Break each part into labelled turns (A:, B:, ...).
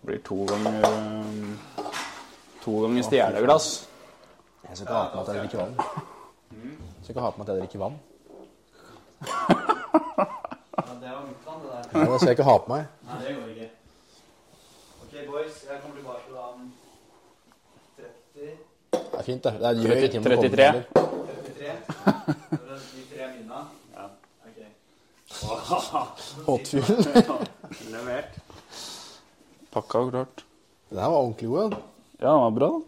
A: Blir to ganger eh, To ganger stjerneglass.
B: Jeg skal ikke ha på meg at jeg drikker vann. Jeg skal ikke ha på meg at jeg drikker vann.
C: Ja, det var mitt vann, det der.
B: Nei, det skal jeg ikke ha på meg.
C: Nei, det går ikke. Ok, boys. Jeg kommer tilbake da om 30
B: Det er fint, det. Det er gjør ikke ting med
A: 33.
B: kongen, eller?
C: 33. Det var De tre minna? Ja. Ok.
B: Å, tull.
C: Levert.
A: Pakka og klart.
B: Den her var ordentlig god. den.
A: Ja, den var bra, da.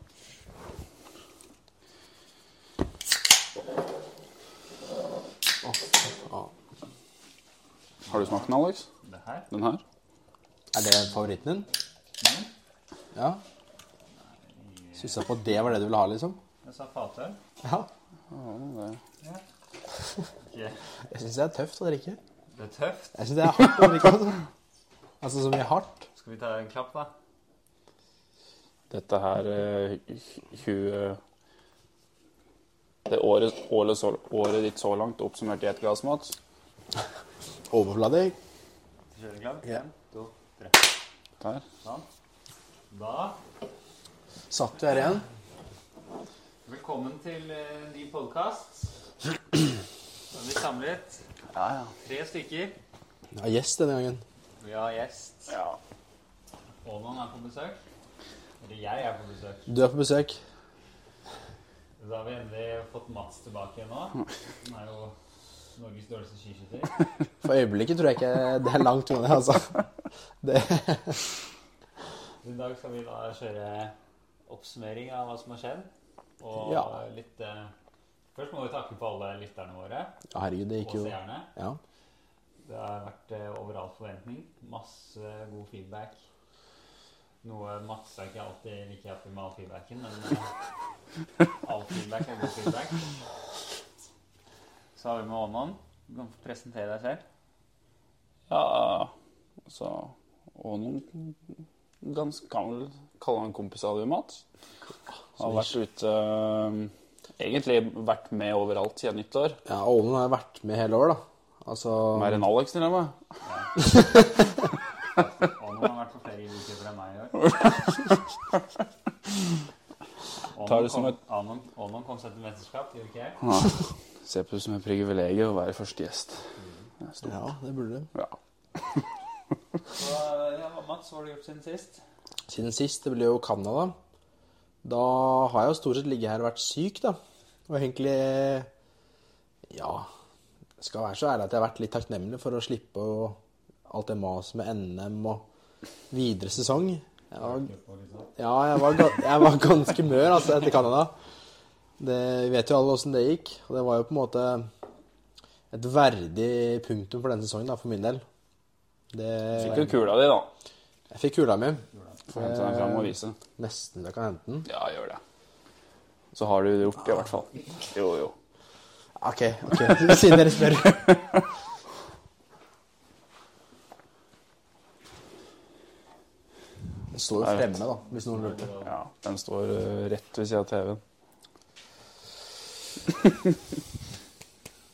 A: Har du smakt den, Alex?
C: Det her?
A: Den her?
B: Er det favoritten din? Mm. Ja. Syns jeg på at det var det du ville ha, liksom?
C: Jeg sa fatøl.
B: Ja.
C: Okay.
B: Jeg syns det er tøft å drikke.
C: Det er tøft.
B: Jeg syns det er hardt å drikke. Altså, altså så mye hardt.
C: Skal vi ta en klapp, da?
A: Dette her eh, hu- hu- eh, Det året, året, så, året ditt så langt oppsummert i ett glass, Mats.
B: Overfladig.
C: Vi kjører klapp.
B: Ja.
C: En, to, tre.
A: Der.
C: Sånn. Da
B: Satt du her igjen?
C: Velkommen til eh, ny podkast. Da er vi samlet.
A: Ja, ja.
C: Tre stykker.
B: Ja, gjest denne gangen.
C: Vi har gjest.
A: ja.
C: Aamodt er på besøk. Eller jeg er på besøk.
B: Du er på besøk.
C: Da har vi endelig fått Mats tilbake igjen nå. Han er jo Norges dårligste skiskytter.
B: For øyeblikket tror jeg ikke det er langt unna det, altså. Det,
C: I dag skal vi da kjøre oppsummering av hva som har skjedd. Og
B: Ja.
C: litt eh, Først må vi takke på alle lytterne våre
B: ja, herregud, det
C: og
B: gikk jo
C: seerne.
B: Ja.
C: Det har vært eh, over all forventning. Masse god feedback. Noe Mats er ikke alltid like happy med all feedbacken, men eh, all feedback er god feedback. Så har vi med Åmon. Du kan få presentere deg selv.
A: ja altså Og noen ganske Kan vel kalle han kompis av deg, Mats. Har vært ute eh, Egentlig vært med overalt siden nyttår.
B: ja Ålen har vært med hele år, da. Altså
A: Mer enn Alex, til og med.
C: Åmon har vært på flere uker enn meg i år. Åmon
A: Tar det som
C: kom-
A: et-
C: Åmon Åmon kom seg til mesterskap, gjorde ikke jeg?
A: Ser på det som et privilegium å være første gjest. Det er stort.
B: Ja, det burde du.
A: Ja.
C: Så ja, Mats, hva har du gjort siden sist?
B: Siden sist, det ble jo Canada. Da har jeg jo stort sett ligget her og vært syk, da. Og egentlig Ja. Skal være så ærlig at jeg har vært litt takknemlig for å slippe å alt det maset med NM og videre sesong. Jeg var Ja, jeg var, ga- jeg var ganske mør altså, etter Canada. Det vi vet jo alle åssen det gikk. Og det var jo på en måte et verdig punktum for denne sesongen, da, for min del. Det,
A: Fikk jo kula di, da.
B: jeg fikk kula mi.
A: Får hente den fram og vise.
B: Nesten så jeg kan hente den.
A: Ja, gjør det. Så har du gjort det, i hvert fall. Jo, jo.
B: OK, ok, siden dere spør. Den står jo fremme, da, hvis noen lurte.
A: Ja, Den står eh, rett ved siden av TV-en.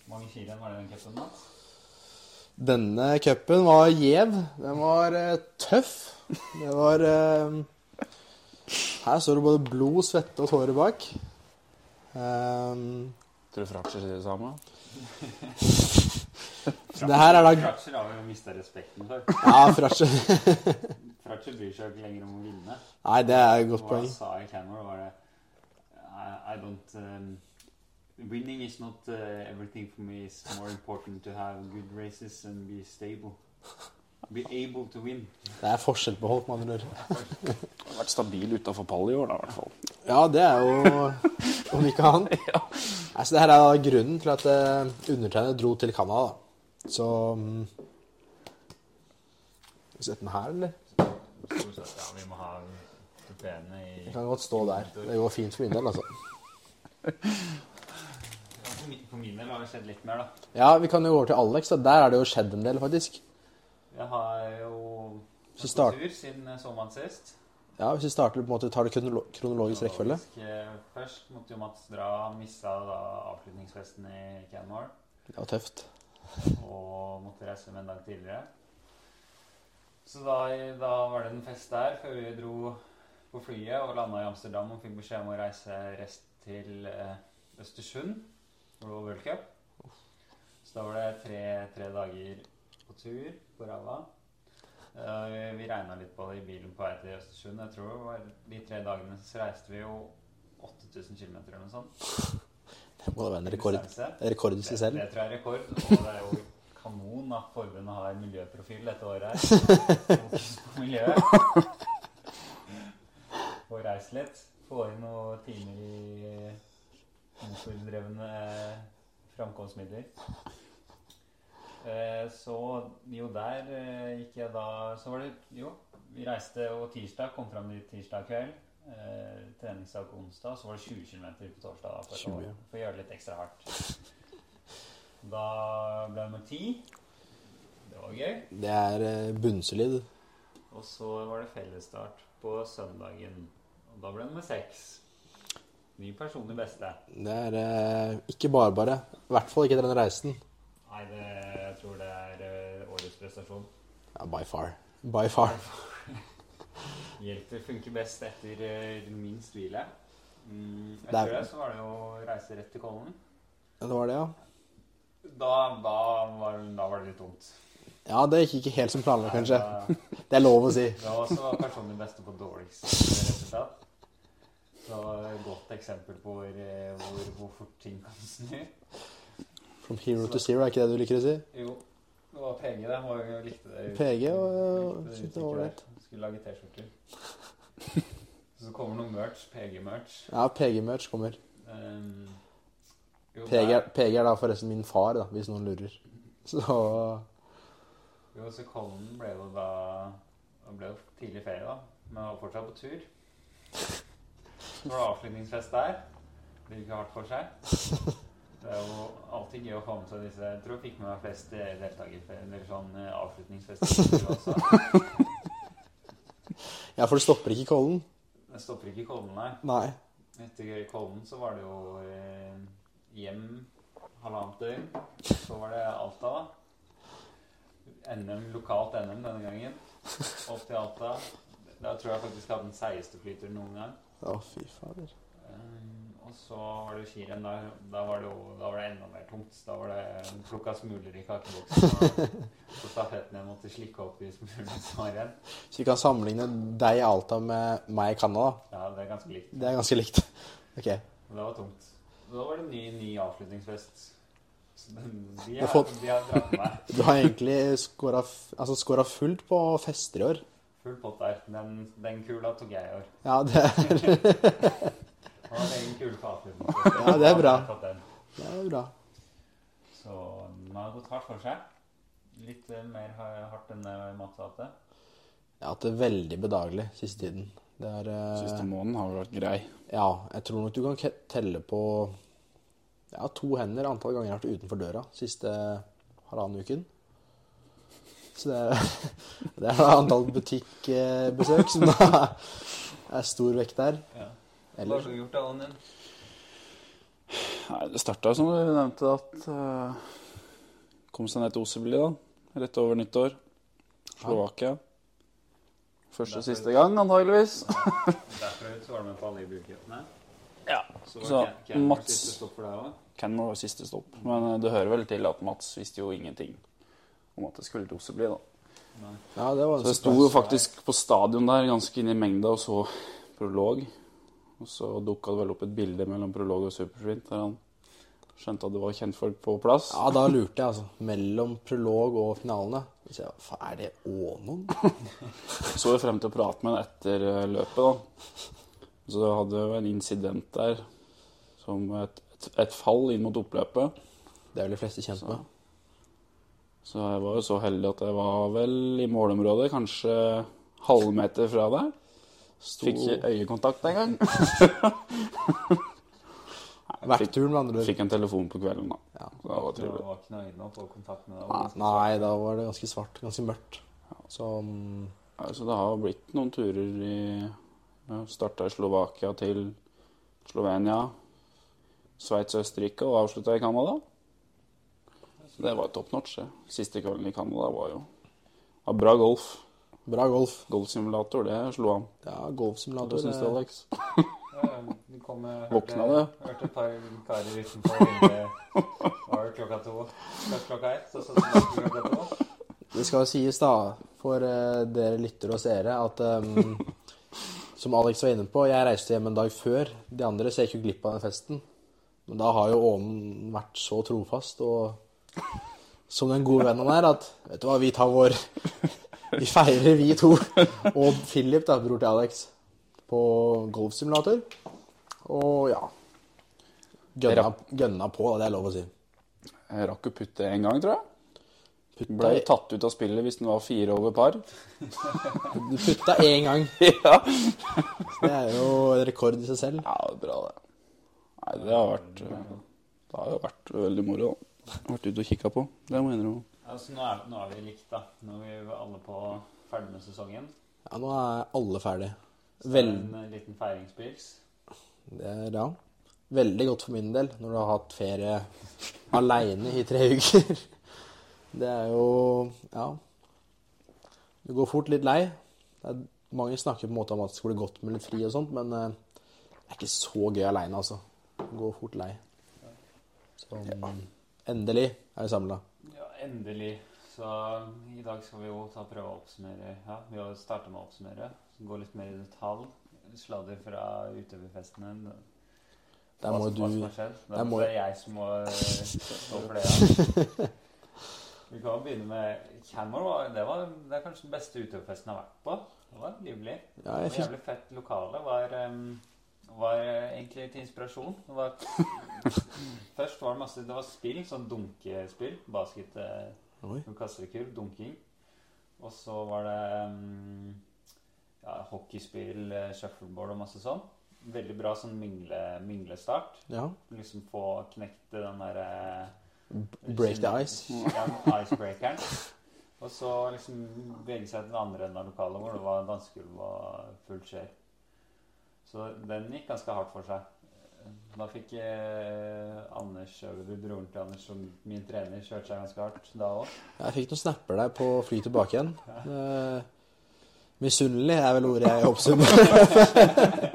C: Mange kilo igjen var det den cupen, Mats?
B: Denne cupen var gjev. Den var eh, tøff. Det var eh, Her står det både blod, svette og tårer bak. Ehm,
A: Tror du Fraksjer sier det samme?
B: så det her er da
C: Fratscher har vi jo mista respekten for.
B: Ja, Fratsje.
C: Fratscher bryr seg jo ikke lenger om å vinne.
B: Nei, det er et godt
C: Hva
B: poeng.
C: han sa i Canmore, var det I, I don't um, Winning is not uh, everything for me. It's more important to have good races and be stable. Be able to win.
B: Det er forskjell på folk, med andre ord.
A: Du har vært stabil utafor pall i år, da, i hvert fall.
B: Ja, det er jo Om ikke annet. Nei, så det her er da grunnen til at eh, undertegnede dro til Canada. da. Så mm, Skal vi sette den her, eller?
C: Stort sett, ja, vi må ha tupéene i
B: Den kan godt stå der. Det går fint for min del, altså.
C: For min- for min del har det skjedd litt mer, da.
B: Ja, vi kan jo gå over til Alex. Da. Der er det jo skjedd en del, faktisk.
C: Jeg har jo
B: Så
C: vært på
B: start-
C: tur siden jeg så Mats sist.
B: Ja, Hvis vi starter på en måte, tar det kronolo- kronologisk rekkefølge.
C: Logisk, eh, Først måtte jo Mats dra. Han mista da avslutningsfesten i Canmore.
B: Det var tøft.
C: og måtte reise med en dag tidligere. Så da, da var det en fest der før vi dro på flyet og landa i Amsterdam og fikk beskjed om å reise rest til eh, Østersund, hvor det var World Cup. Så da var det tre, tre dager på tur på ræva. Eh, vi- vi regna litt på det i bilen på vei til Østersund. Jeg tror det var De tre dagene så reiste vi jo 8000 km eller noe sånt.
B: Det må da være en rekord,
C: Distanse.
B: rekord i
C: Det,
B: seg selv.
C: det tror jeg er rekord. Og det er jo kanon at forbundet har miljøprofil dette året. her. Fokus på miljøet. Og reise litt. Få inn noen timer i motordrevne framkomstmidler. Eh, Så jo, der eh, gikk jeg da Så var det Jo, vi reiste jo tirsdag, kom fram dit tirsdag kveld. Eh, treningsdag på onsdag, så var det 20 km på torsdag. da, For,
B: 20, ja.
C: å, for å gjøre det litt ekstra hardt. Da ble jeg nummer ti. Det var gøy.
B: Det er eh, bunnsolid.
C: Og så var det fellesstart på søndagen. Og da ble det nummer seks. Ny personlig beste.
B: Det er eh, ikke bare bare. I hvert fall ikke etter den reisen.
C: Nei, det, jeg tror det er eh, årets prestasjon.
B: Ja, by far. By far.
C: Hjelper funker best etter eh, minst hvile. Mm,
B: Det er-
C: etter det så var det jo å reise rett til Kollen.
B: Ja, Det var det, ja.
C: Da, da, var, da var det litt tungt.
B: Ja, det gikk ikke helt som planlagt, kanskje.
C: Nei, da-
B: Det er lov å si.
C: Det var også personlig beste på dårligst resultat. Så et godt eksempel på hvor, eh, hvor, hvor fort ting kan snu.
B: From hero to zero, er ikke det du liker å si?
C: Jo, det var PG, det. Han var jo- likte det.
B: PG var-
C: Likte det
B: syntes det
C: uttrykket
B: var
C: der.
B: ålreit.
C: Skulle lage T-skjorter. Så kommer noe merch. PG-merch.
B: Ja, PG-merch kommer.
C: Um, jo,
B: PG,
C: der-
B: er- PG er da forresten min far, da, hvis noen lurer. Så
C: Jo, så Colin ble jo da Han ble jo tidlig ferie, da. Men han var fortsatt på tur. Så var det avslutningsfest der. Det gikk jo hardt for seg. Det er jo alltid gøy å få med seg disse Jeg tror jeg fikk med meg flest eh, deltakere eller sånn eh, avslutningsfester også.
B: Ja, for det stopper ikke i Kollen.
C: Det stopper ikke i Kollen, nei.
B: Nei.
C: Etter Kollen så var det jo eh, hjem halvannet døgn. Så var det Alta, da. NM, lokalt NM denne gangen. Opp til Alta. Da tror jeg faktisk jeg hadde den seigeste flyturen noen gang.
B: Å, fy fader.
C: Um, og så var det skirenn der. Da var det jo da var det enda mer tungt. Da var det plukka smuler i kakeboksen. Og på stafetten jeg måtte slikke opp de smulene som var igjen.
B: Så vi kan sammenligne deg i Alta med meg i Canada.
C: Ja, det er ganske likt.
B: Det er ganske likt. Ok.
C: Men Det var tungt. Da var det en ny, ny avslutningsfest. Så den, de,
B: har
C: har,
B: fått-
C: de har dratt med meg
B: Du har egentlig scora f- altså scora fullt på fester i år.
C: full pott der. Den, den kula tok jeg i år.
B: Ja, det er,
C: Han hadde egen kule for avslutningsfest.
B: Ja, det er bra.
C: Jeg har tatt den.
B: det er bra.
C: Så den har gått hardt for seg. Litt eh, mer har- hardt enn eh, det Mats hadde.
B: Jeg har hatt det veldig bedagelig siste tiden. Det er eh,
A: Siste måneden har vært grei.
B: Ja, jeg tror nok du kan ke- telle på ja, to hender antall ganger jeg har vært utenfor døra siste halvannen uken. Så det er, det er da antall butikkbesøk som da er stor vekt der.
C: Ja. Hva har
B: Ellers
C: du gjort, Allen din?
A: Nei, det starta som du nevnte, at uh, kom seg ned til Osebli, da. Rett over nyttår. Slovakia. Første og siste gang, antageligvis.
C: Derfra ut så var du med på alle de brukhetene.
A: Ja.
C: Så
A: Så,
C: var Ca- Cameron
A: Mats-
C: siste stopp for deg også.
A: Canmore var siste stopp. Men eh, det hører vel til at Mats visste jo ingenting om at det skulle til Osebli, da.
C: Nei.
B: Ja, det var en
A: Så jeg sto
B: surprise.
A: jo faktisk på stadion der, ganske inn i mengda, og så prolog. Og så dukka det vel opp et bilde mellom prolog og Supersprint, der han skjønte at det var kjentfolk på plass.
B: Ja, da lurte jeg, altså. Mellom prolog og finalene. Så jeg, Hva faen, er det Ånon?
A: Så jo frem til å prate med ham etter eh, løpet, da. Så jeg hadde jo en incident der, som et, et, et fall inn mot oppløpet.
B: Det er vel de fleste kjent
A: Så.
B: med.
A: Så jeg var jo så heldig at jeg var vel i målområdet, kanskje halvmeter fra der.
B: Sto
A: Fikk ikke øyekontakt engang. Fikk,
B: Vertturen, med andre ord.
A: fikk en telefon på kvelden, da.
B: Ja.
A: Så det var
C: Det
A: trivelig.
C: var ikke noe øyne på kontakt med
B: Ja,
C: deg.
B: Nei, da var det ganske svart. Ganske mørkt. Så mm,
A: Ja, Så det har blitt noen turer i Starta i Slovakia til Slovenia, Sveits og Østerrike, og avslutta i Canada. Så det var top notch, det. Siste kvelden i Canada var jo var bra golf.
B: Bra golf.
A: Golfsimulator, det slo han.
B: Ja,
A: Hva
B: golfsimulator.
A: syns du,
B: eh,
A: Alex?
C: Du kom, eh,
A: Våkna
C: hørte-
A: du?
C: Hørte et par karer utenfor vinduet. Var det klokka to? Først klokka ett, så så snart klokka to.
B: Det skal jo sies, da, for eh, dere lyttere og seere, at eh, Som Alex var inne på, jeg reiste hjem en dag før de andre, så jeg gikk jo glipp av den festen. Men da har jo Ånen vært så trofast og som den gode vennen han er, at Vet du hva, vi tar vår Vi feirer, vi to. Og Philip, da, bror til Alex, på golfsimulator. Og ja Gønna, gønna på, da. Det er lov å si.
A: Jeg rakk å putte en gang, tror jeg.
B: Putta,
A: Ble jo tatt ut av spillet hvis den var fire over par.
B: du putta én gang.
A: ja.
B: Det er jo en rekord i seg selv.
A: Ja, det er bra det. Nei, det har vært eh, Det har jo vært veldig moro. da. Vært ute og kikka på. Det må jeg innrømme.
C: Altså, nå, er, nå er vi likt, da. Nå er vi alle på ferdig med sesongen.
B: Ja, nå er alle ferdige.
C: Så det er
B: Vel,
C: En eh, liten feiringspils.
B: det er ja. Veldig godt for min del når du har hatt ferie aleine i tre uker. Det er jo Ja. Du går fort litt lei. Det er, mange snakker på en måte om at det skulle gått med litt fri og sånt, men eh, det er ikke så gøy aleine, altså. Du går fort lei. Så endelig er vi samla.
C: Ja, endelig. Så i dag skal vi jo ta og prøve å oppsummere. Ja, vi har starta med å oppsummere. Gå litt mer i detalj. Sladder fra utøverfestene.
B: Der
C: Hva
B: må
C: som-
B: du
C: hva som har skjedd. Det
B: der
C: er
B: må-
C: bare jeg som må eh, stå for det. Ja. Vi kan jo begynne med Camel. var- Det, var, det er kanskje den beste utøverfesten jeg har vært på. Det var livlig.
B: Ja,
C: Det
B: jeg
C: var
B: fikk
C: jævlig fett lokale. Var, em, var eh, egentlig til inspirasjon. Det var, først var det masse Det var spill, sånn dunkespill. Basket eh,
B: Oi.
C: hun kaster kul, dunking. Og så var det mm, ja, hockeyspill, eh, shuffleboard og masse sånn. Veldig bra sånn mingle, minglestart.
B: Ja.
C: Liksom få knekt den eh, derre
B: Break the ice.
C: Ja, icebreakeren. Og så liksom bevege seg til den andre enden av lokalet hvor det var dansegulv og fullt skjer. Så den gikk ganske hardt for seg. Da fikk eh, Anders Øverby, broren til Anders, som min trener, kjørt seg ganske hardt da òg.
B: Jeg fikk noen snapper der på fly tilbake igjen. Eh, Misunnelig er vel ordet jeg oppsummerer.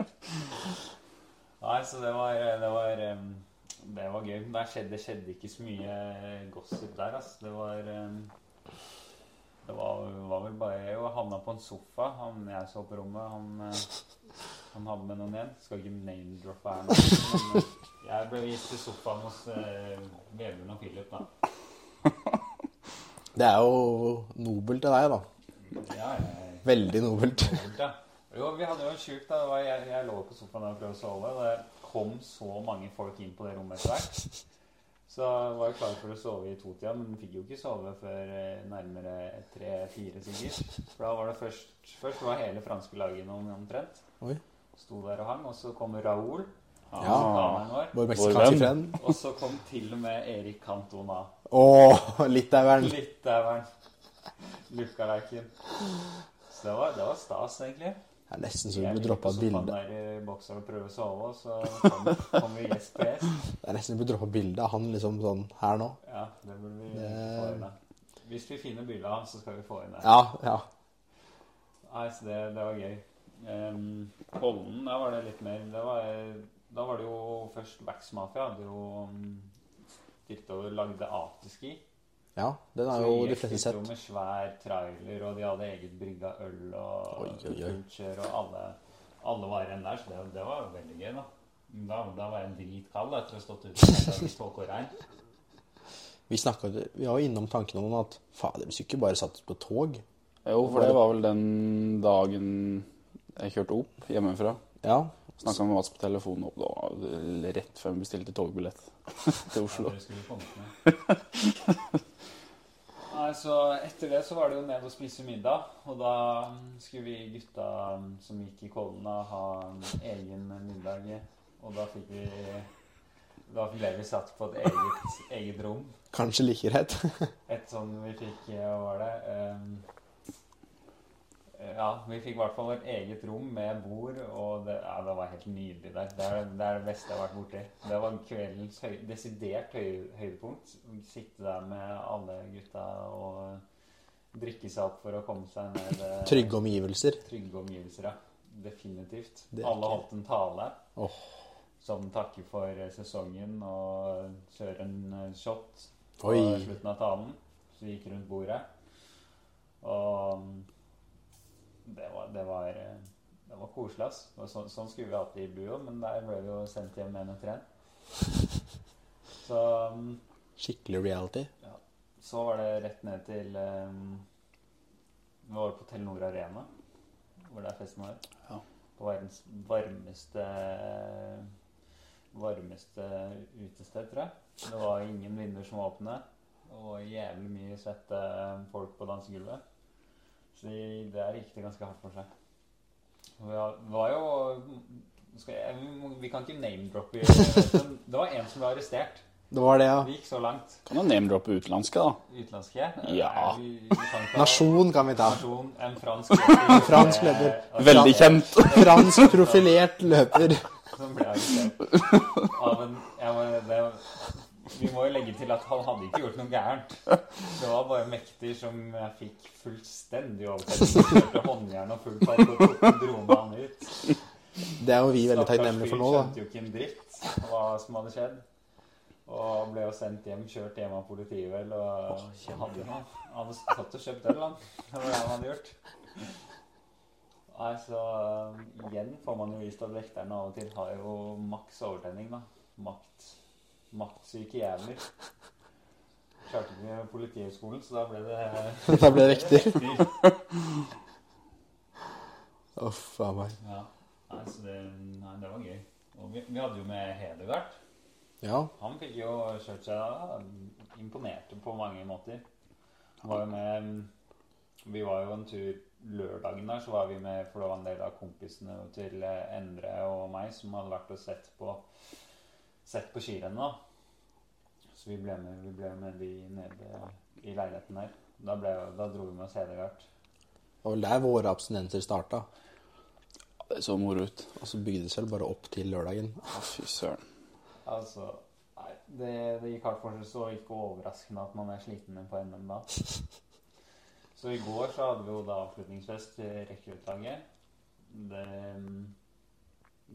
C: Nei, så det var Det var, em, det var gøy. Men Det skjedde, det skjedde ikke så mye eh, gossip der, altså. Det var em, Det var, var vel bare Jeg havna på en sofa, han jeg så på rommet. Han, eh, han hadde med noen igjen. Skal ikke name-droppe her nå. Men eh, jeg ble vist til sofaen hos eh, Vebjørn og Philip, da.
B: Det er jo nobelt av deg, da.
C: Ja, jeg,
B: Veldig nobelt.
C: Kult, ja. Jo, vi hadde jo en sjukt, da. Det var- Jeg, jeg lå på sofaen og prøvde å sove. og Det kom så mange folk inn på det rommet etter hvert. Så jeg var jo klar for å sove i totida, men fikk jo ikke sove før eh, nærmere tre-fire, sikkert. For da var det først Først var hele franske laget noen omtrent.
B: Oi.
C: Sto der og hang. Og så kom Raoul,
A: Ja.
C: amerikaneren vår.
B: Vår
A: Vår
B: meksikanske
A: venn.
B: venn.
C: Og så kom til og med Erik Cantona.
B: Å, litaueren.
C: Litaueren. Lukkaleiken. Så det var, det var stas, egentlig.
B: Det er nesten så du burde droppe et
C: Jeg
B: bilde.
C: ligger på sofaen der i bokser og prøver å sove, og så kommer kom vi gjest på gjest.
B: Det er nesten du burde droppe bilde av han liksom sånn her nå.
C: Ja, det burde vi
B: Det-
C: få inn. da. Hvis vi finner bildet av ham, så skal vi få inn det.
B: Ja, ja.
C: Nei, så det, det var gøy. Ehm, Kollen, der var det litt mer det var, Da var det jo først Wax Mafia. Hadde jo mm, stilt over lagde afterski.
B: Ja, den har jo de fleste
C: Så vi gikk jo
B: sett.
C: med svær trailer, og de hadde eget brygga øl og
B: Oi, oi, oi.
C: kultur, og alle, alle var igjen der, så det, det var jo veldig gøy, da. Men Da, da var jeg dritkald da, etter å ha stått ute i tåke og regn.
B: Vi snakket, vi var jo innom tanken om at fader, hvis vi ikke bare satt oss på tog
A: Jo, for det var vel den dagen jeg kjørte opp hjemmefra.
B: Ja,
A: Snakka med Mats på telefonen opp da, rett før vi bestilte togbillett til Oslo.
C: Dere skulle kommet med. Nei, så Etter det så var det jo ned og spise middag. Og da mm, skulle vi gutta mm, som gikk i Kollen, da, ha en egen middag. Og da fikk vi Da ble vi satt på et eget, eget rom.
B: kanskje like greit.
C: Et sånn vi fikk eh, Hva var det? Ehm, ja, vi fikk i hvert fall et eget rom med bord, og det, ja, det var helt nydelig der. Det er det, er det beste jeg har vært borti. Det var kveldens høy, desidert høy, høydepunkt. Å Sitte der med alle gutta og drikke seg opp for å komme seg ned eh,
B: Trygge omgivelser.
C: trygge omgivelser. Ja. Definitivt.
B: Det er
C: Alle
B: ikke-
C: holdt en tale
B: Åh,
C: som takker for eh, sesongen og kjører en eh, shot på
B: Oi.
C: slutten av talen. Så vi gikk rundt bordet. Og mm, det var, det var, eh, det var koselig. ass. Det var Sånn, sånn skulle vi hatt det i Buo, men der ble vi jo sendt hjem med en og tren. Så, mm,
B: skikkelig reality.
C: så var det rett ned til eh, Vi var på Telenor Arena, hvor det er festen vår
A: Ja.
C: på verdens varmeste varmeste utested, tror jeg. Det var ingen vinduer som var åpne, og jævlig mye svette ehm, folk på dansegulvet. Så de- der gikk det ganske hardt for seg. Og Vi har- det var jo skal jeg, vi- Vi kan ikke name-droppe men Det var en som ble arrestert.
B: Det var det, ja.
C: Vi gikk så langt.
A: Kan jo name-droppe utenlandske, da.
C: Utenlandske.
A: Ja.
C: Nei, vi- vi kan ikke ha-
B: Nasjon kan vi ta.
C: Nasjon. En fransk løper.
B: fransk løper.
C: Eh,
A: Veldig kjent.
B: Fransk profilert løper.
C: Som ble arrestert. Ja, men jeg må, det, vi må jo legge til at han hadde ikke gjort noe gærent. Det var bare mektig som jeg fikk fullstendig overtenning. Kjørte håndjern og full fart og tok- dro med han ut.
B: Det er jo vi veldig
C: Stakkars
B: takknemlige for
C: fyr
B: nå, da.
C: Skjønte jo ikke en dritt av hva som hadde skjedd. Og ble jo sendt hjem, kjørt hjem av politiet vel, og han hadde han hadde tatt og kjøpt øl, han. Det var det han hadde gjort. Nei, så um, igjen får man jo vist at vekterne av og til har jo maks overtenning, da. Makt. Maktsyke jævler. Klarte ikke Politihøgskolen, så da ble det
B: Da ble det riktig.
C: riktig.
B: Uff a meg.
C: Ja. Nei, så det, nei, det var gøy. Og vi, vi hadde jo med Hedegaard.
B: Ja.
C: Han fikk jo kjørt seg da. Imponerte på mange måter. Han Var jo med, mm, vi var jo en tur lørdagen der, så var vi med for det var en del av kompisene til eh, Endre og meg som hadde vært og sett på, sett på skirennet. da. Så vi ble med, vi ble med de nede i leiligheten der. Da, ble, da dro vi med oss Hedegaard.
B: Det var vel der våre abstinenser starta.
A: Det så moro ut.
B: Og så bygde det seg vel bare opp til lørdagen.
A: Å, fy søren.
C: Altså, nei, det, det gikk hardt for seg, så ikke overraskende at man er sliten på NM da. Så i går så hadde vi jo da avslutningsfest til rekruttlaget. Det, mm,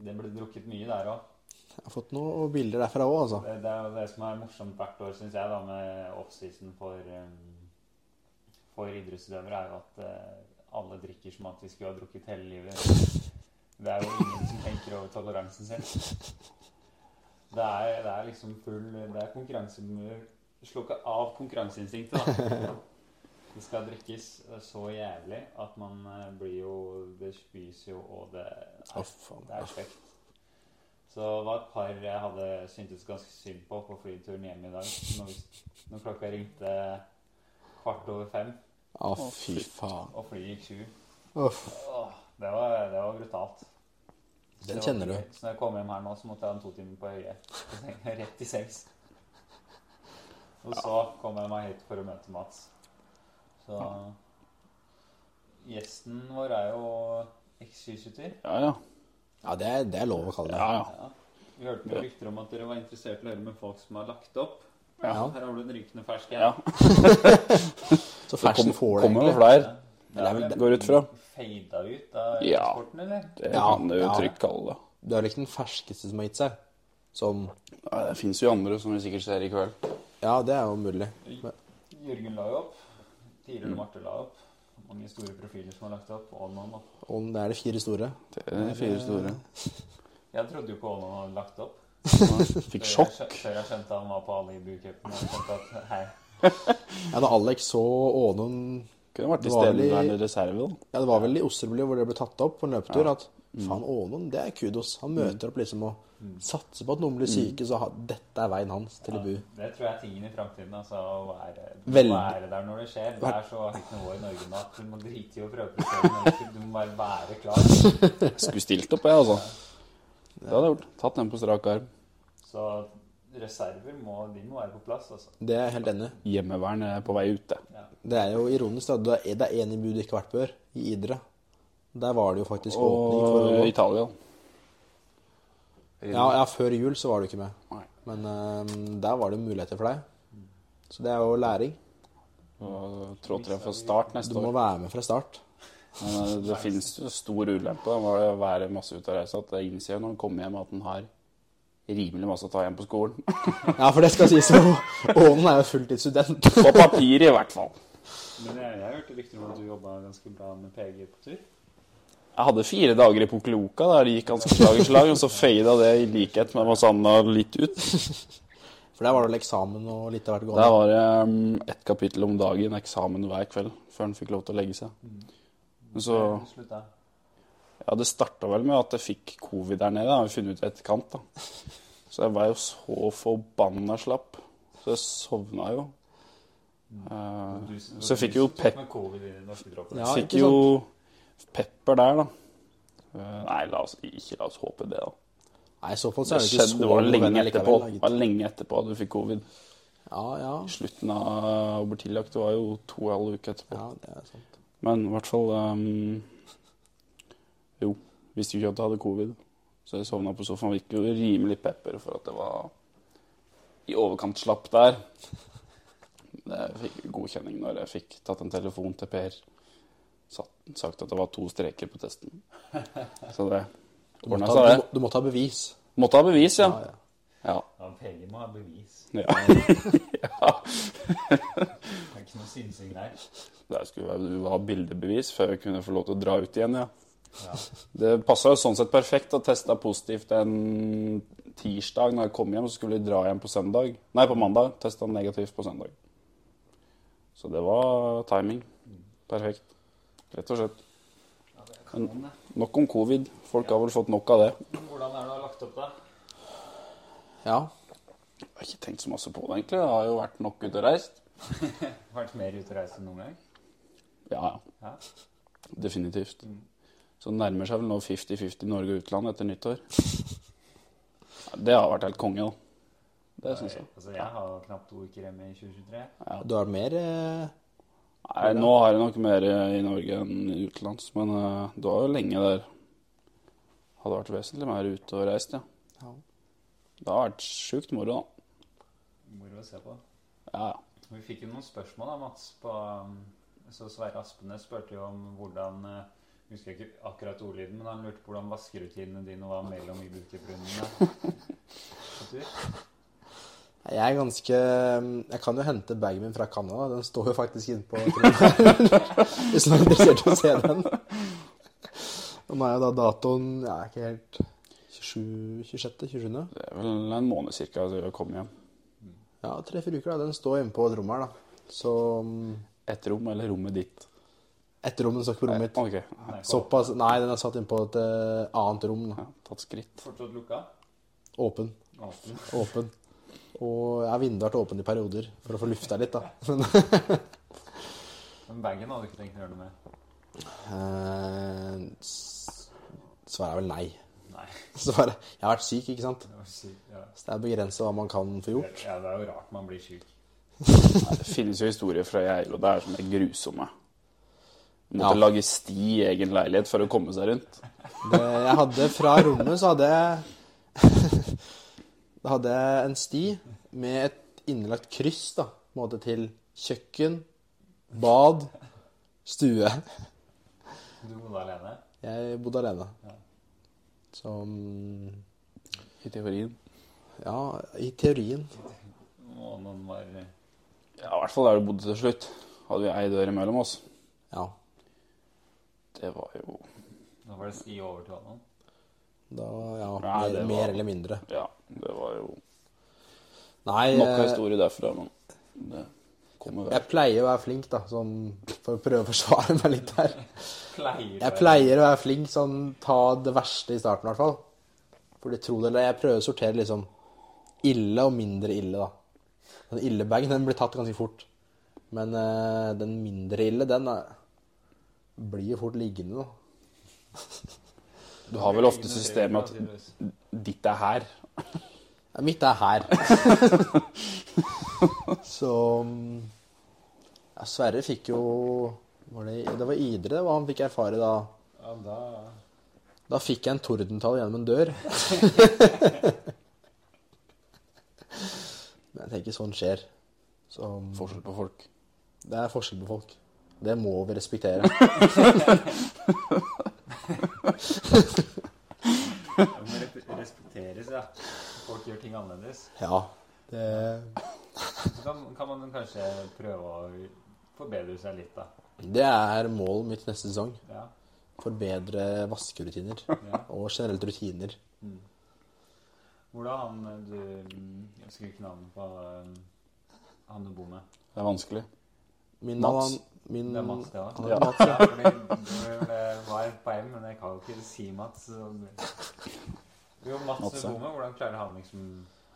C: det ble drukket mye der òg.
B: Jeg har fått noen bilder derfra òg, altså.
C: Det, det er jo det som er morsomt hvert år, syns jeg, da, med offseason for, um, for idrettsutøvere, er jo at eh, alle drikker som at de skulle ha drukket hele livet. Det er jo ingen som tenker over toleransen sin. Det er, det er liksom full Det er konkurranse Slukka av konkurranseinstinktet, da. Det skal drikkes så jævlig at man eh, blir jo Det spys jo, og det
B: altså. Å,
C: er
B: faen.
C: det er kjekt. Så det var et par jeg hadde syntes ganske synd på på flyturen hjem i dag. Når, vi- når klokka ringte kvart over fem,
B: Å, fy faen.
C: og flyet gikk sju.
B: Uff.
C: Åh, Det var, det var brutalt.
B: Den
C: Så det var
B: kjenner du.
C: ikke gøy. Så når jeg kom hjem her nå, så måtte jeg ha en to timer på øyet. på senga, Rett i sengs. Og så kom jeg meg hit for å møte Mats. Så Gjesten vår er jo ekskysyter.
A: Ja, ja.
B: Ja, det er, det er lov å kalle
A: ja,
B: det.
A: ja.
C: Ja. Vi hørte noen rykter om at dere var interessert i å høre med folk som har lagt opp.
B: Ja.
C: Her har du en rykende fersk en.
A: ja. Det
B: Så
A: kom,
B: fersen får det,
A: kommer noen
B: egentlig.
A: flere.
C: Det
B: Eller er
C: vel
A: Går ut fra.
C: Fada ut av
A: Ja.
C: sporten, eller?
A: Det
B: Ja,
A: kan du jo
B: ja.
A: trygt kalle det.
B: Du er vel ikke den ferskeste som har gitt seg? Som
A: Nei, Det fins jo andre som vi sikkert ser i kveld.
B: Ja, det er jo mulig.
C: Jørgen la jo opp. Tiril og Marte la opp. Mange store profiler som har lagt opp. Aanon opp.
B: Om det er de fire store.
A: Det er de fire store.
C: Jeg trodde jo ikke Aanon hadde lagt opp.
A: Fikk
C: Før jeg
A: sjokk.
C: skjø- Før jeg skjønte han var på Alibu-cupen. Jeg skjønte at hei,
B: Ja, da Alex så Ånon
A: Kunne vært
B: Det
A: i
B: var vel i-
A: stedværende reserve, da.
B: Ja, det var vel i Osterbro hvor det ble tatt opp på en løpetur at faen, Ånon, det er kudos.
A: Mm.
B: Han møter opp liksom og satser på at noen blir syke, så ha- dette er veien hans til Ibu.
C: det tror jeg er tingen i framtiden. Altså, å være,
B: Veldig.
C: å være der når det skjer. Det er så høyt nivå i Norge nå at du må drite i å prøve å prøve, men du må bare være klar.
A: Skulle stilt opp, jeg, altså. Det hadde jeg gjort. Tatt den på strak arm.
C: Så reserver må, de må være på plass, altså.
B: Det er jeg helt enig i.
A: Hjemmevern er på vei ute.
B: Det er jo ironisk. da. Det er- Det er én Ibu du ikke har vært på før, i Idre. Der var det jo faktisk åpning for
A: Og eh,
B: Ånon.
A: Italia.
B: Ja, ja, før jul så var du ikke med. ehm,
A: Nei. Mm.
B: Men eh, der var det muligheter for deg. Så det er jo læring.
A: Det på trådtre fra start
B: Du
A: neste
B: må
A: år.
B: være med fra start.
A: Men eh, det finnes jo stor ulempe da, med å være masse ute og reise. At jeg innser når han kommer hjem, at han har rimelig masse å ta igjen på skolen.
B: Ja, for det skal sies. og Ånen er jo fulltidsstudent.
A: På papiret, i hvert fall.
C: Men jeg, jeg har hørt rykter om at du jobba ganske bra med PG på tur.
A: Jeg hadde fire dager i Pukkeluka, der det gikk ganske slag i slag, og så fada det i likhet med masse annet litt ut.
B: For der var det vel eksamen og litt av hvert
A: Der
B: gående.
A: var det um, ett kapittel om dagen, eksamen hver kveld, før han fikk lov til å legge seg.
B: Mm.
A: Men Så
C: Du slutta.
A: Ja, det starta vel med at jeg fikk covid der nede, har vi funnet ut i etterkant, da. Så jeg var jo så forbanna slapp. Så jeg sovna jo. Eh,
C: Du-
A: så jeg fikk jo
C: du- du-
A: pep-
C: med covid i den norske kroppen.
B: Ja,
A: fikk
B: ikke
A: jo pepper der, da. Eh, nei, la oss ikke la oss håpe det, da.
B: Nei, i så fall
A: Det
B: så er det ikke
A: skjedde
B: så
A: det var lenge
B: nødvendig
A: etterpå.
B: likevel,
A: Det
B: da,
A: var lenge etterpå at du fikk covid.
B: gitt. Ja, ja.
A: Slutten av å bli tillagt det var jo to og en halv uke etterpå.
B: Ja, det er sant.
A: Men i hvert fall ehm, Jo, visste jo ikke at jeg hadde covid. Så jeg sovna på sofaen. Virket jo rimelig pepper for at det var i overkant slapp der. Men Jeg fikk godkjenning når jeg fikk tatt en telefon til Per. Satt, sagt at det var to streker på testen. Så det
B: Du
A: ordna
B: måtte,
A: seg,
B: ha, du,
A: det.
B: må- du måtte ha bevis.
A: Måtte ha bevis, ja.
B: Ja, ja.
A: ja.
C: Ja, PG må ha bevis.
A: Ja.
C: Det er ikke noe synsing der.
A: Det skulle være, du ha bildebevis før jeg kunne få lov til å dra ut igjen, ja.
C: Ja.
A: Det passa jo sånn sett perfekt å teste positivt en tirsdag når jeg kom hjem. Så skulle jeg dra hjem på søndag. Nei, på mandag. Testa negativt på søndag. Så det var timing. Perfekt. Rett og slett.
C: Ja, det er kanon, det.
A: Nok om covid. Folk har vel fått nok av det.
C: Hvordan er det du har lagt opp, da?
B: ja.
A: Jeg har ikke tenkt så masse på det, egentlig. Det har jo vært nok ute og reist.
C: Vært mer ute og reist enn noen gang?
A: Ja, ja.
C: Ja.
A: Definitivt. Så det nærmer seg vel nå 50-50 Norge og utland etter nyttår. Ja, Det har vært helt konge, da. Det syns jeg.
C: Altså, jeg har knapt to uker hjemme i 2023.
B: Du har mer eh,
A: Nei, nå har jeg nok mer eh, i Norge enn utenlands, men eh, det var jo lenge der. Hadde vært vesentlig mer ute og reist, ja.
B: ja.
A: Det har vært sjukt moro, da.
C: Moro å se på.
A: Ja,
C: Vi fikk jo noen spørsmål da, Mats. På, um, så Sverre Aspenes spurte jo om hvordan eh, jeg husker ikke akkurat ordlyden, men han lurte på hvordan vaskerutinene dine var mellom ibuprunene. På tur.
B: Jeg er ganske eh, Jeg kan jo hente bagen min fra Canada. Den står jo faktisk inne på Hvis noen er interessert i å se den. Og nå er jo da datoen Jeg er ikke helt 27, 26? 27.
A: det er vel en måned cirka siden jeg kom hjem.
B: Ja, tre-fire uker. da, Den står inne på et rom her, da. Så mm,
A: Et rom eller rommet ditt?
B: Ett rom, den står ikke på rommet mitt.
A: Ok,
C: Nei,
B: Såpass Nei, den er satt inn på et eh, annet rom. da.
A: ja, tatt skritt.
C: Fortsatt lukka?
B: Åpen.
C: Åpen.
B: Åpen. Og ja, vinduet har vært åpent i perioder for å få lufta litt, da.
C: Men bagen hadde du ikke tenkt å gjøre noe med?
B: Eh, s- Svaret er vel nei.
C: Nei.
B: Svaret Jeg har vært syk, ikke sant?
C: Det var sykt. Ja.
B: Så det er begrenset hva man kan få gjort.
C: ja, det er jo rart man blir syk.
A: Nei, det finnes jo historier fra Geilo der som er grusomme. Måtte
B: Ja.
A: lage sti i egen leilighet for å komme seg rundt.
B: Det, jeg hadde fra rommet så hadde jeg Da hadde jeg en sti med et innelagt kryss da, på en måte til kjøkken, bad, stue.
C: Du bodde alene?
B: Jeg bodde alene. Så mm,
A: I teorien.
B: Ja, i teorien.
C: Og noen var eh,
A: Ja, i hvert fall der du bodde til slutt. Hadde vi ei dør imellom oss.
B: Ja.
A: Det var jo
C: Da var det sti over til noen.
B: Da Ja,
A: Nei,
B: mer,
A: det var-
B: mer eller mindre.
A: Ja, det var jo
B: Nei,
A: Nok av
B: jeg,
A: historie derfra, men det kommer vel.
B: jeg pleier å være flink, da, sånn for å prøve å forsvare meg litt her.
C: Pleier
B: Jeg pleier å være flink, sånn ta det verste i starten i hvert fall. Fordi tro det eller ei, jeg prøver å sortere liksom ille og mindre ille, da. Den ille bagen, den blir tatt ganske fort. Men eh, den mindre ille, den er, blir jo fort liggende, da.
A: Du har vel ofte systemet at ditt er her.
B: Ja, mitt er her. Så mm, ja, Sverre fikk jo var det, det var Idre, det var han fikk erfare da.
C: Ja, da
B: Da fikk jeg en tordentall gjennom en dør. Men jeg tenker sånn skjer. Så
A: Forskjell på folk.
B: Det er forskjell på folk. Det må vi respektere.
C: Det må re- respekteres, ja. Folk gjør ting annerledes.
B: Ja. Det,
C: Så kan, kan man kanskje prøve å forbedre seg litt, da.
B: det er målet mitt neste sesong.
C: Ja.
B: Forbedre vaskerutiner.
C: ja.
B: Og generelt rutiner.
C: Hvordan han eh, du Jeg husker ikke navnet på eh, han du bor med.
A: Det er vanskelig.
B: Min
A: Mats.
B: mann- Min,
C: Det er Mats, det òg.
A: Ja.
B: Mats,
C: Ja, fordi det var et poeng, men jeg kan jo ikke si Mats. så- Jo, Mats
A: Mats, ja.
C: Bome, hvordan klarer han liksom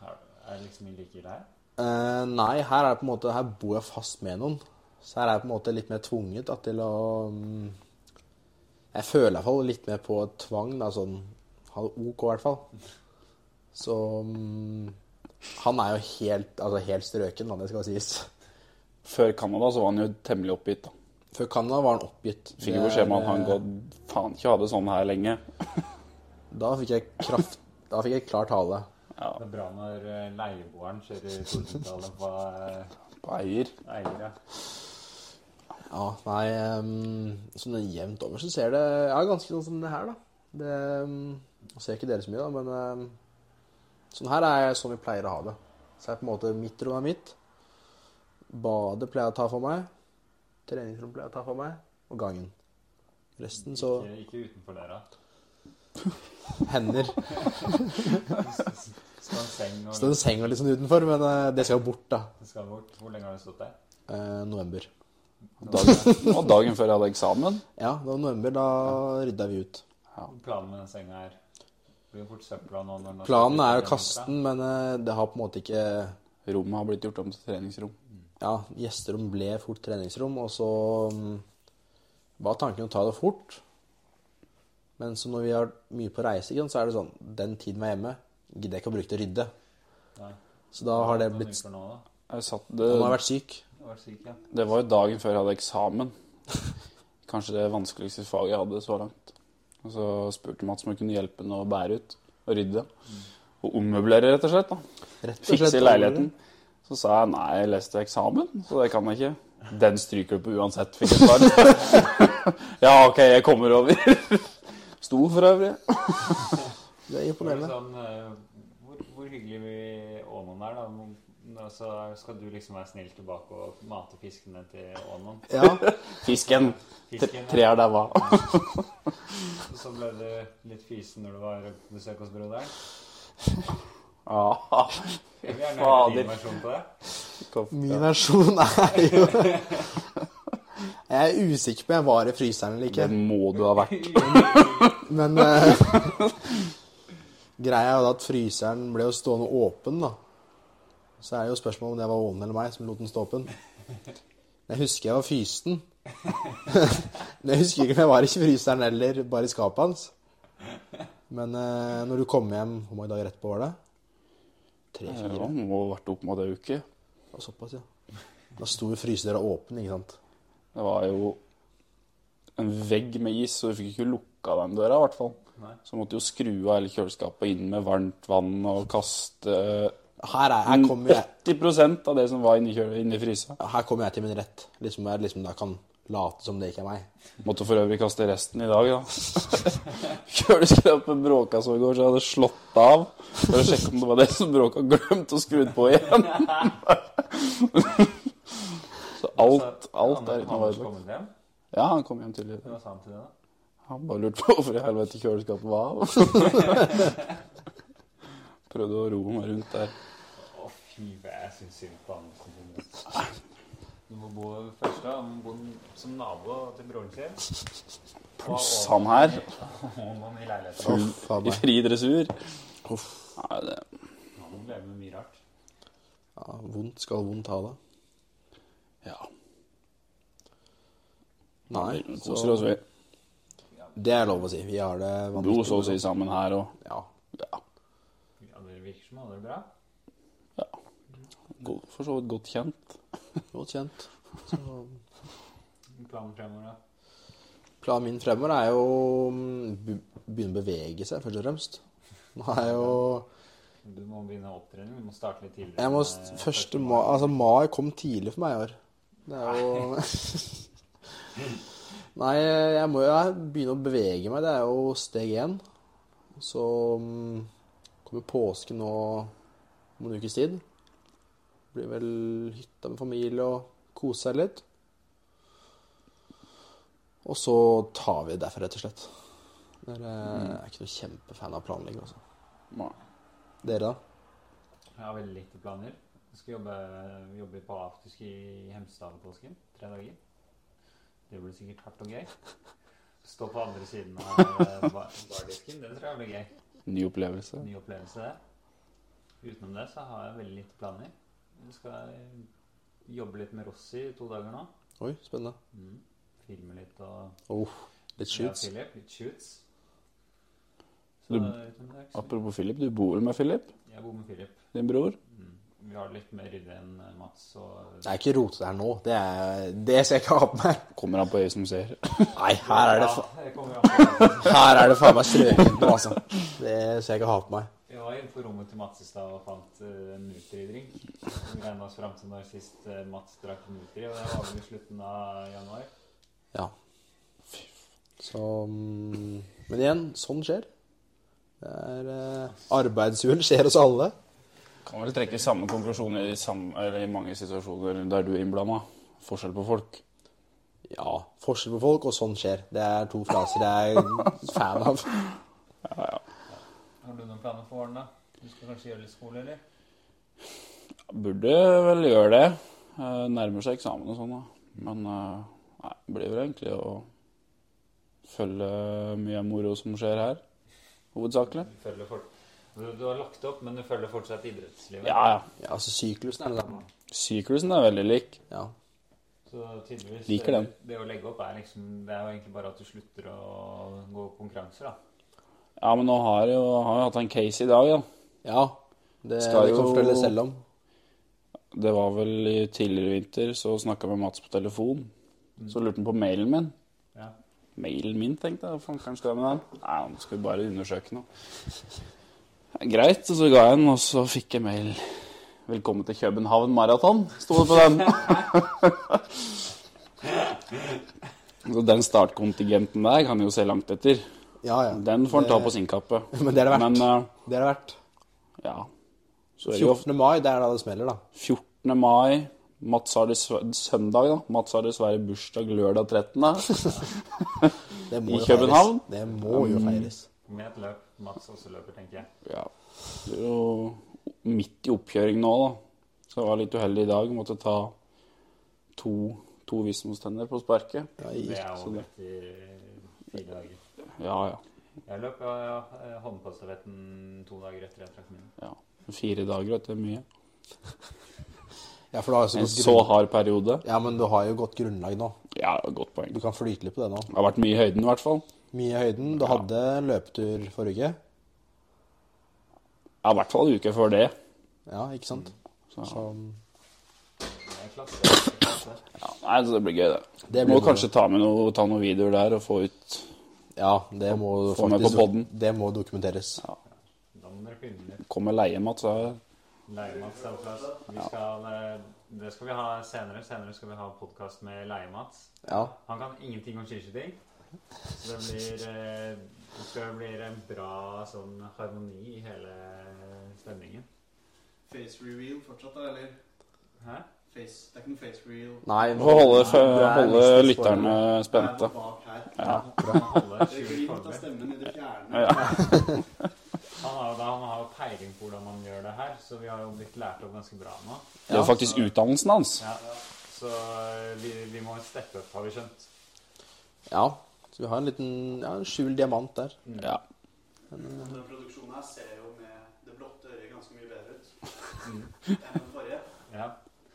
C: er- Er det liksom i like deg?
B: Eh, nei, her er det på en måte Her bor jeg fast med noen. Så her er jeg på en måte litt mer tvunget da, til å mm, Jeg føler i hvert fall litt mer på tvang. Da, sånn ha det OK, i hvert fall. Så mm, Han er jo helt, altså, helt strøken, da, det skal sies.
A: Før Canada så var han jo temmelig oppgitt. da.
B: Før Canada var han oppgitt.
A: Fikk jo
B: Det
A: beskjed om
B: er,
A: at han går faen ikke ha det sånn her lenge.
B: Da fikk jeg kraft Da fikk jeg klar tale.
A: Ja,
C: Det er bra når eh, leieboeren kjører Tordentallet på
A: på eier.
C: eh, eier, ja.
B: Ja, nei um, Sånn jevnt over så ser det ja, ganske sånn som det her, da. Det mm, jeg ser ikke dere så mye, da, men mm, sånn her er jeg sånn vi pleier å ha det. Så er på en måte mitt rom er mitt. Badet pleier jeg å ta for meg. Treningsrom pleier jeg å ta for meg. Og gangen. Resten så
C: Ikke, ikke utenfor døra.
B: hender.
C: Skal en seng og
B: Så den senga litt sånn utenfor, men eh, det skal bort, da.
C: skal bort. Hvor lenge har du stått der?
B: Eh, november.
A: Dagen, det var dagen før jeg hadde eksamen.
B: Ja, det var november. Da rydda vi ut.
C: Planen med den senga her blir jo fort søpla nå. Når den har
B: Planen
C: stått
B: er
C: ute
B: å
C: i
B: kaste
C: vinter.
B: den, men eh, det har på en måte ikke
A: Rommet har blitt gjort om til treningsrom.
B: ja, gjesterom ble fort treningsrom, og så mm, var tanken å ta det fort. Men så når vi har mye på reise, ikke sant, så er det sånn Den tiden vi er hjemme, gidder jeg ikke å bruke til å rydde.
C: Nei.
B: Så da har det
C: Noen
B: blitt
C: uker Nå, da.
A: Jeg satt,
B: Han har
A: det,
B: vært syk.
C: Du var syk, ja.
A: det var jo dagen før jeg hadde eksamen. Kanskje det vanskeligste faget jeg hadde så langt. Og så spurte Mats om jeg kunne hjelpe henne å bære ut og rydde. Og ommøblere, rett og slett. da.
B: Mm. Rett og slett
A: Fikse leiligheten. Så sa jeg nei, jeg leste eksamen, så det kan jeg ikke. Den stryker du på uansett, fikk jeg svar. ja, OK, jeg kommer over. Sto for øvrig.
B: Det er
C: Det var jo
B: imponerende.
C: sånn, eh, hvor, hvor hyggelig vi Ånon er, da. Men- men Så skal du liksom være snill tilbake og mate fiskene til Ånon.
B: Ja,
A: Fisken.
C: Fisken, ja.
A: Treer der var.
C: Og så ble du litt fysen når du var på besøk hos broderen.
A: Ah,
C: Jeg vil gjerne høre
A: Fader.
C: din versjon på det.
B: Min versjon er jo Jeg er usikker på om jeg var i fryseren eller ikke.
A: Det må du ha vært.
B: Men eh, greia er jo da at fryseren ble jo stående åpen, da. Så er det jo spørsmål om det var Ånen eller meg som lot den stå åpen. Jeg husker jeg var fysten. Men jeg husker ikke om jeg var i fryseren eller bare i skapet hans. Men eh, når du kom hjem Hvor mange dager etterpå var det?
A: Ja,
B: Tre-fire?
A: det må ha vært opp mot ei uke.
B: Såpass, ja. Da sto jo frysedøra åpen, ikke sant.
A: Det var jo en vegg med is, så du fikk ikke lukka den døra, i hvert fall.
C: Nei.
A: Så måtte jo skru av hele kjøleskapet inn med varmt vann og kaste
B: Her, er, her kommer jeg
A: 80 av det som var inni, kjøle, inni frysa.
B: Her kommer jeg til min rett. Liksom, jeg liksom da kan late som det ikke er meg.
A: Måtte for øvrig kaste resten i dag, da. Kjøleskapet bråka så i går, så jeg hadde slått av. For å sjekke om det var det som bråka, glemt å skru den på igjen. så
C: Altså,
A: alt, alt er
C: Han
A: innom
C: har ikke
A: ødelagt.
C: kommet hjem.
A: Ja, han kom hjem tidligere.
C: Hva sa han til det, da?
A: Han bare lurte på hvorfor i helvete kjøleskapet var av. Prøvde å roe meg rundt der.
C: Å, fy, jeg syns synd på han. Du må bo først, da. Du må bo som nabo til broren sin.
A: Pluss han her,
C: Og man i leiligheten.
B: Uff, faen
A: i
B: meg.
A: fri dressur.
B: Uff.
A: Nei, det-
C: Han må leve med mye rart.
B: Ja, vondt skal vondt ha det.
A: Ja,
B: Nei,
A: vi
B: så,
A: koser oss, vi.
B: det er lov å si. Vi har det
A: Bor
B: vanvittig
A: så å si sammen her og
B: Ja.
A: Ja,
C: Ja, dere virker som alle er bra.
A: god- for så vidt godt kjent.
B: Godt kjent. Så,
C: Planen fremover, da.
B: planen min fremover er jo mm, be- begynne å bevege seg, først og fremst. Nå er jo
C: Du må begynne opptrening. Du må starte litt tidligere.
B: Jeg må s- første mai Altså, mai kom altså, tidlig for meg i år. Det er jo Nei, jeg må jo begynne å bevege meg. Det er jo steg én. Så mm, kommer påske nå om en ukes tid. Blir vel hytta med familie og kose seg litt. Og så tar vi det derfra, rett og slett. Dere jeg er ikke noe kjempefan av planlegging, altså.
A: Nei.
B: Dere, da?
C: Jeg har veldig lite planer. Jeg skal jobbe, jobbe på afterski i Hemsedal i påsken. Tre dager. Det blir sikkert hardt og gøy. Stå på andre siden av eh, bar- bardisken. Det tror jeg blir gøy.
A: Ny opplevelse.
C: Ny opplevelse, det. Utenom det så har jeg veldig lite planer. Jeg skal eh, jobbe litt med Rossi i to dager nå.
B: Oi, spennende.
C: Mm. Filme litt og
B: Oh, litt shoots.
C: Ja, Philip, litt shoots. Så
A: Du-
C: utenom det, er ikke så-
A: Apropos Philip, du bor vel med Philip,
C: jeg bor med Philip.
A: din bror?
C: Mm. Vi har det litt mer ryddig enn eh, Mats og
B: Det er ikke rotete her nå. Det, er, det ser jeg ikke ha på meg.
A: Kommer han på øyet som ser?
B: Nei, her er det, fa
C: Ja, jeg kommer jo akkurat.
B: her er det faen meg strøkent nå, altså. Det ser jeg ikke ha på meg.
C: Jeg var inne på rommet til Mats i stad og fant eh, en Nutri-drink. Vi regna oss fram til når sist eh, Mats drakk Nutri, og det var vel i slutten av januar.
B: Ja. Så mm, Men igjen, sånn skjer. Det er eh, Arbeidsuhell skjer hos alle.
A: Kan vel trekke samme konklusjon i, samme, eller i mange situasjoner der du er innblanda. Forskjell på folk.
B: Ja. Forskjell på folk, og sånn skjer. Det er to fraser jeg er fan av.
C: Har du noen planer for våren, da? Du skal kanskje gjøre litt skole, eller?
A: Burde vel gjøre det. Eh, Nærmer seg eksamen og sånn, da. Men eh, nei, det blir vel egentlig å følge mye av moro som skjer her. Hovedsakelig.
C: Du, følger fort... du, du har lagt opp, men du følger fortsatt idrettslivet.
A: Ja, ja.
B: Ja, altså syklusen er det samme.
A: Syklusen er veldig lik.
B: Ja.
C: Så tydeligvis eh,
A: Liker den.
C: Det, det å legge opp er liksom Det er jo egentlig bare at du slutter å gå konkurranser, da.
A: Ja, men nå har jeg jo har jeg hatt en case i dag, da.
B: ja. Det,
A: Skal
B: det kan
A: jo-
B: du fortelle selv om.
A: Det var vel i tidligere vinter, så snakka jeg med Mats på telefon. Så lurte han på mailen min.
C: Ja.
A: Mailen min, tenkte jeg. Hva fankeren skal jeg med den? Nei, nå skal vi bare undersøke noe. Greit, og så ga jeg den, og så fikk jeg mail. Velkommen til København Marathon, sto det på den. så den startkontingenten der kan jo se langt etter.
B: Ja, ja.
A: Den får han ta på sin kappe.
B: Men det er det verdt.
A: Men eh,
B: Det er det verdt.
A: ja. Så er det jo
B: 14. mai, det er da det smeller, da.
A: 14. mai. Mats har dessverre, søndag, da. Mats har dessverre bursdag lørdag 13. I
B: Det må jo
A: København? Mm.
B: feires. Det må jo feires.
C: Med et løp. Mats også løper, tenker jeg.
A: Ja. Det er jo midt i oppkjøring nå, da. Så jeg var litt uheldig i dag. Måtte ta to, to visdomstenner på sparket.
B: Ja,
C: Det
B: i-
C: er
A: så
C: over
A: det-
C: etter eh, fire dager.
A: Ja, ja.
C: Jeg løp ja, ja, håndpåstavetten to dager etter jeg trakk min.
A: ja. Fire dager, vet du. det er Mye.
B: ja, for du har jo så
A: En
B: godt
A: så
B: grunn...
A: hard periode.
B: Ja, men du har jo godt grunnlag nå.
A: Ja, godt poeng.
B: Du kan flyte litt på det nå.
A: Det har vært mye i høyden, i hvert fall.
B: Mye i høyden. Du hadde løpetur forrige uke.
A: Ja, i hvert fall uke før det.
B: Ja, ikke sant?
A: Så, ja.
B: Så
C: Det er klasse. det er klasse.
A: Nei, så det blir gøy, det.
B: Det blir
A: Må
B: moro.
A: kanskje ta, med noe, ta noen videoer der og få ut
B: ja, det må
A: Få med
B: faktisk
A: på podden.
B: Det må dokumenteres.
C: Da må dere finne litt
A: Kom med leie, Mats. Ja.
C: Leiemats er på plass. Vi skal, eh, det skal vi ha senere. Senere skal vi ha podkast med Leiemats.
B: Ja.
C: Han kan ingenting om skiskyting. Så det blir, eh, det skal bli en bra sånn harmoni i hele stemningen.
D: Face reveal fortsatt, da, eller?
C: Hæ?
D: Face, det er ikke noe face reveal.
B: Nei,
A: Vi får holde,
B: det er liksom
A: holde
B: nesten
A: lytterne
B: spoiler.
D: Det
A: spente.
D: er bak her.
C: Han holder
D: Det
C: skjult
D: glir ut av
C: forberedt.
D: stemmen i det fjerne.
A: Ja.
C: Han har jo da- han har jo peiling på hvordan man gjør det her, så vi har jo blitt lært opp ganske bra nå.
A: Det er jo faktisk utdannelsen hans.
C: Ja, så eh, vi, vi må steppe opp, har vi skjønt.
B: Ja. Så vi har en liten ja, en skjult diamant der.
A: Ja.
D: Denne produksjonen her ser jo med det blotte øyet ganske mye bedre ut
A: Mm.
D: enn den forrige.
C: Ja,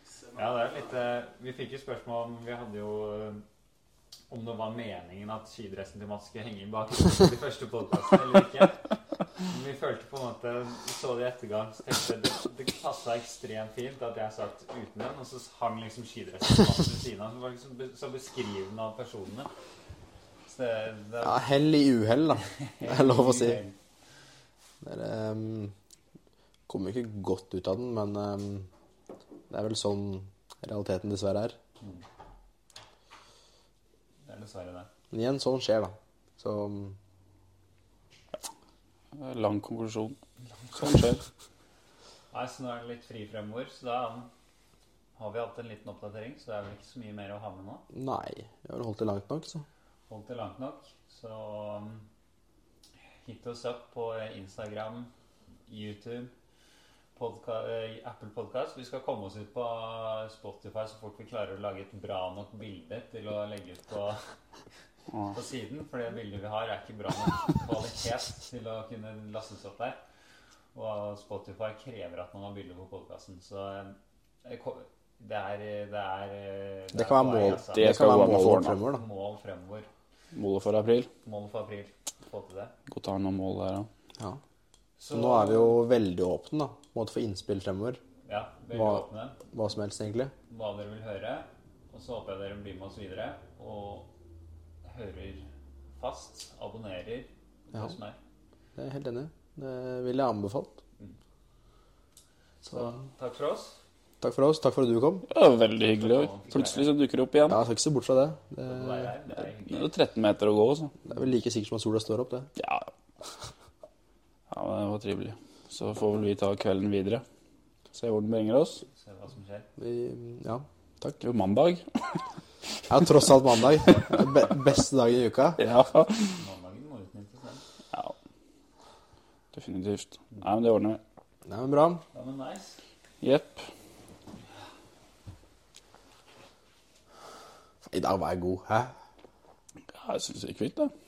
D: Se
C: ja
D: meg.
C: det er litt eh, Vi fikk jo spørsmål om Vi hadde jo eh, Om det var meningen at skidressen til Mats skulle henge bak i de første podkastene eller ikke. Men vi følte på en måte Vi så det i ettergang, så tenkte jeg det, det passa ekstremt fint at jeg satt uten den, og så hang liksom skidressen til Mats ved siden av. Så var liksom be- så beskrivende av personene. Så det, det
B: Ja, Hell i uhell, da. Det er lov å si. Dere ehm, kommer ikke godt ut av den, men ehm, det er vel sånn realiteten dessverre er.
C: Mm. Det er dessverre det.
B: Men igjen, sånn skjer, da. Så mm,
A: Lang konklusjon. Sånn skjer.
C: Nei, så nå er det litt fri fremover, så da har vi hatt en liten oppdatering, så det er vel ikke så mye mer å ha med nå.
B: nei. Vi har vel holdt det langt nok, så.
C: Holdt det langt nok, så um, hit oss opp på Instagram, YouTube, podka eh, Apple Podcast. Vi skal komme oss ut på eh, Spotify så fort vi klarer å lage et bra nok bilde til å legge ut på,
A: Ja.
C: på siden, for det bildet vi har er ikke bra nok kvalitet til å kunne lastes opp der. Og Spotify krever at man har bilde på podkasten, så eh, det ko- det er Det, er, eh,
B: Det kan være
C: er på vei,
B: mål.
C: altså.
A: Det skal
B: kan
A: gå an
B: være
A: å
B: målet
A: få
B: vårt
A: ordnet.
B: fremover, da.
C: Mål fremover.
A: Målet for april.
C: Mål for april. Få til det.
A: Godt å ha noen mål der òg.
B: Ja. Så nå er vi jo veldig åpne, da. På en måte for innspill fremover.
C: Ja, veldig
B: Hva-
C: åpne.
B: Hva som helst, egentlig.
C: Hva dere vil høre. Og så håper jeg dere blir med oss videre og hører fast. Abonnerer.
B: Ja.
C: Hva som er.
B: Det er jeg helt enig. i. Det ville jeg anbefalt. Så
C: Takk for oss.
B: takk for oss. Takk for at du kom.
A: Ja, veldig hyggelig. også. Plutselig så dukker det opp igjen.
B: Ja, jeg skal ikke se bort fra det. Det
C: Å være her. Det er
A: Det
C: hyggelig.
A: er jo 13 meter å gå, så.
B: det er vel like sikkert som at sola står opp, det.
A: Ja. ja, men det var trivelig. Så får vel vi ta kvelden videre. Se hvor den bringer oss.
C: Se hva som skjer.
B: Vi, ja. Takk.
A: Det er jo mandag.
B: Ja, tross alt mandag. Det er Be beste dagen i uka.
A: Ja.
C: Mandagen må utnyttes. den.
A: ja. Definitivt. Nei, men det ordner vi.
B: Nei, men bra.
C: Ja, men nice.
A: Jepp.
B: I dag var jeg god. Hæ?
A: Ja, jeg syns det gikk fint, det.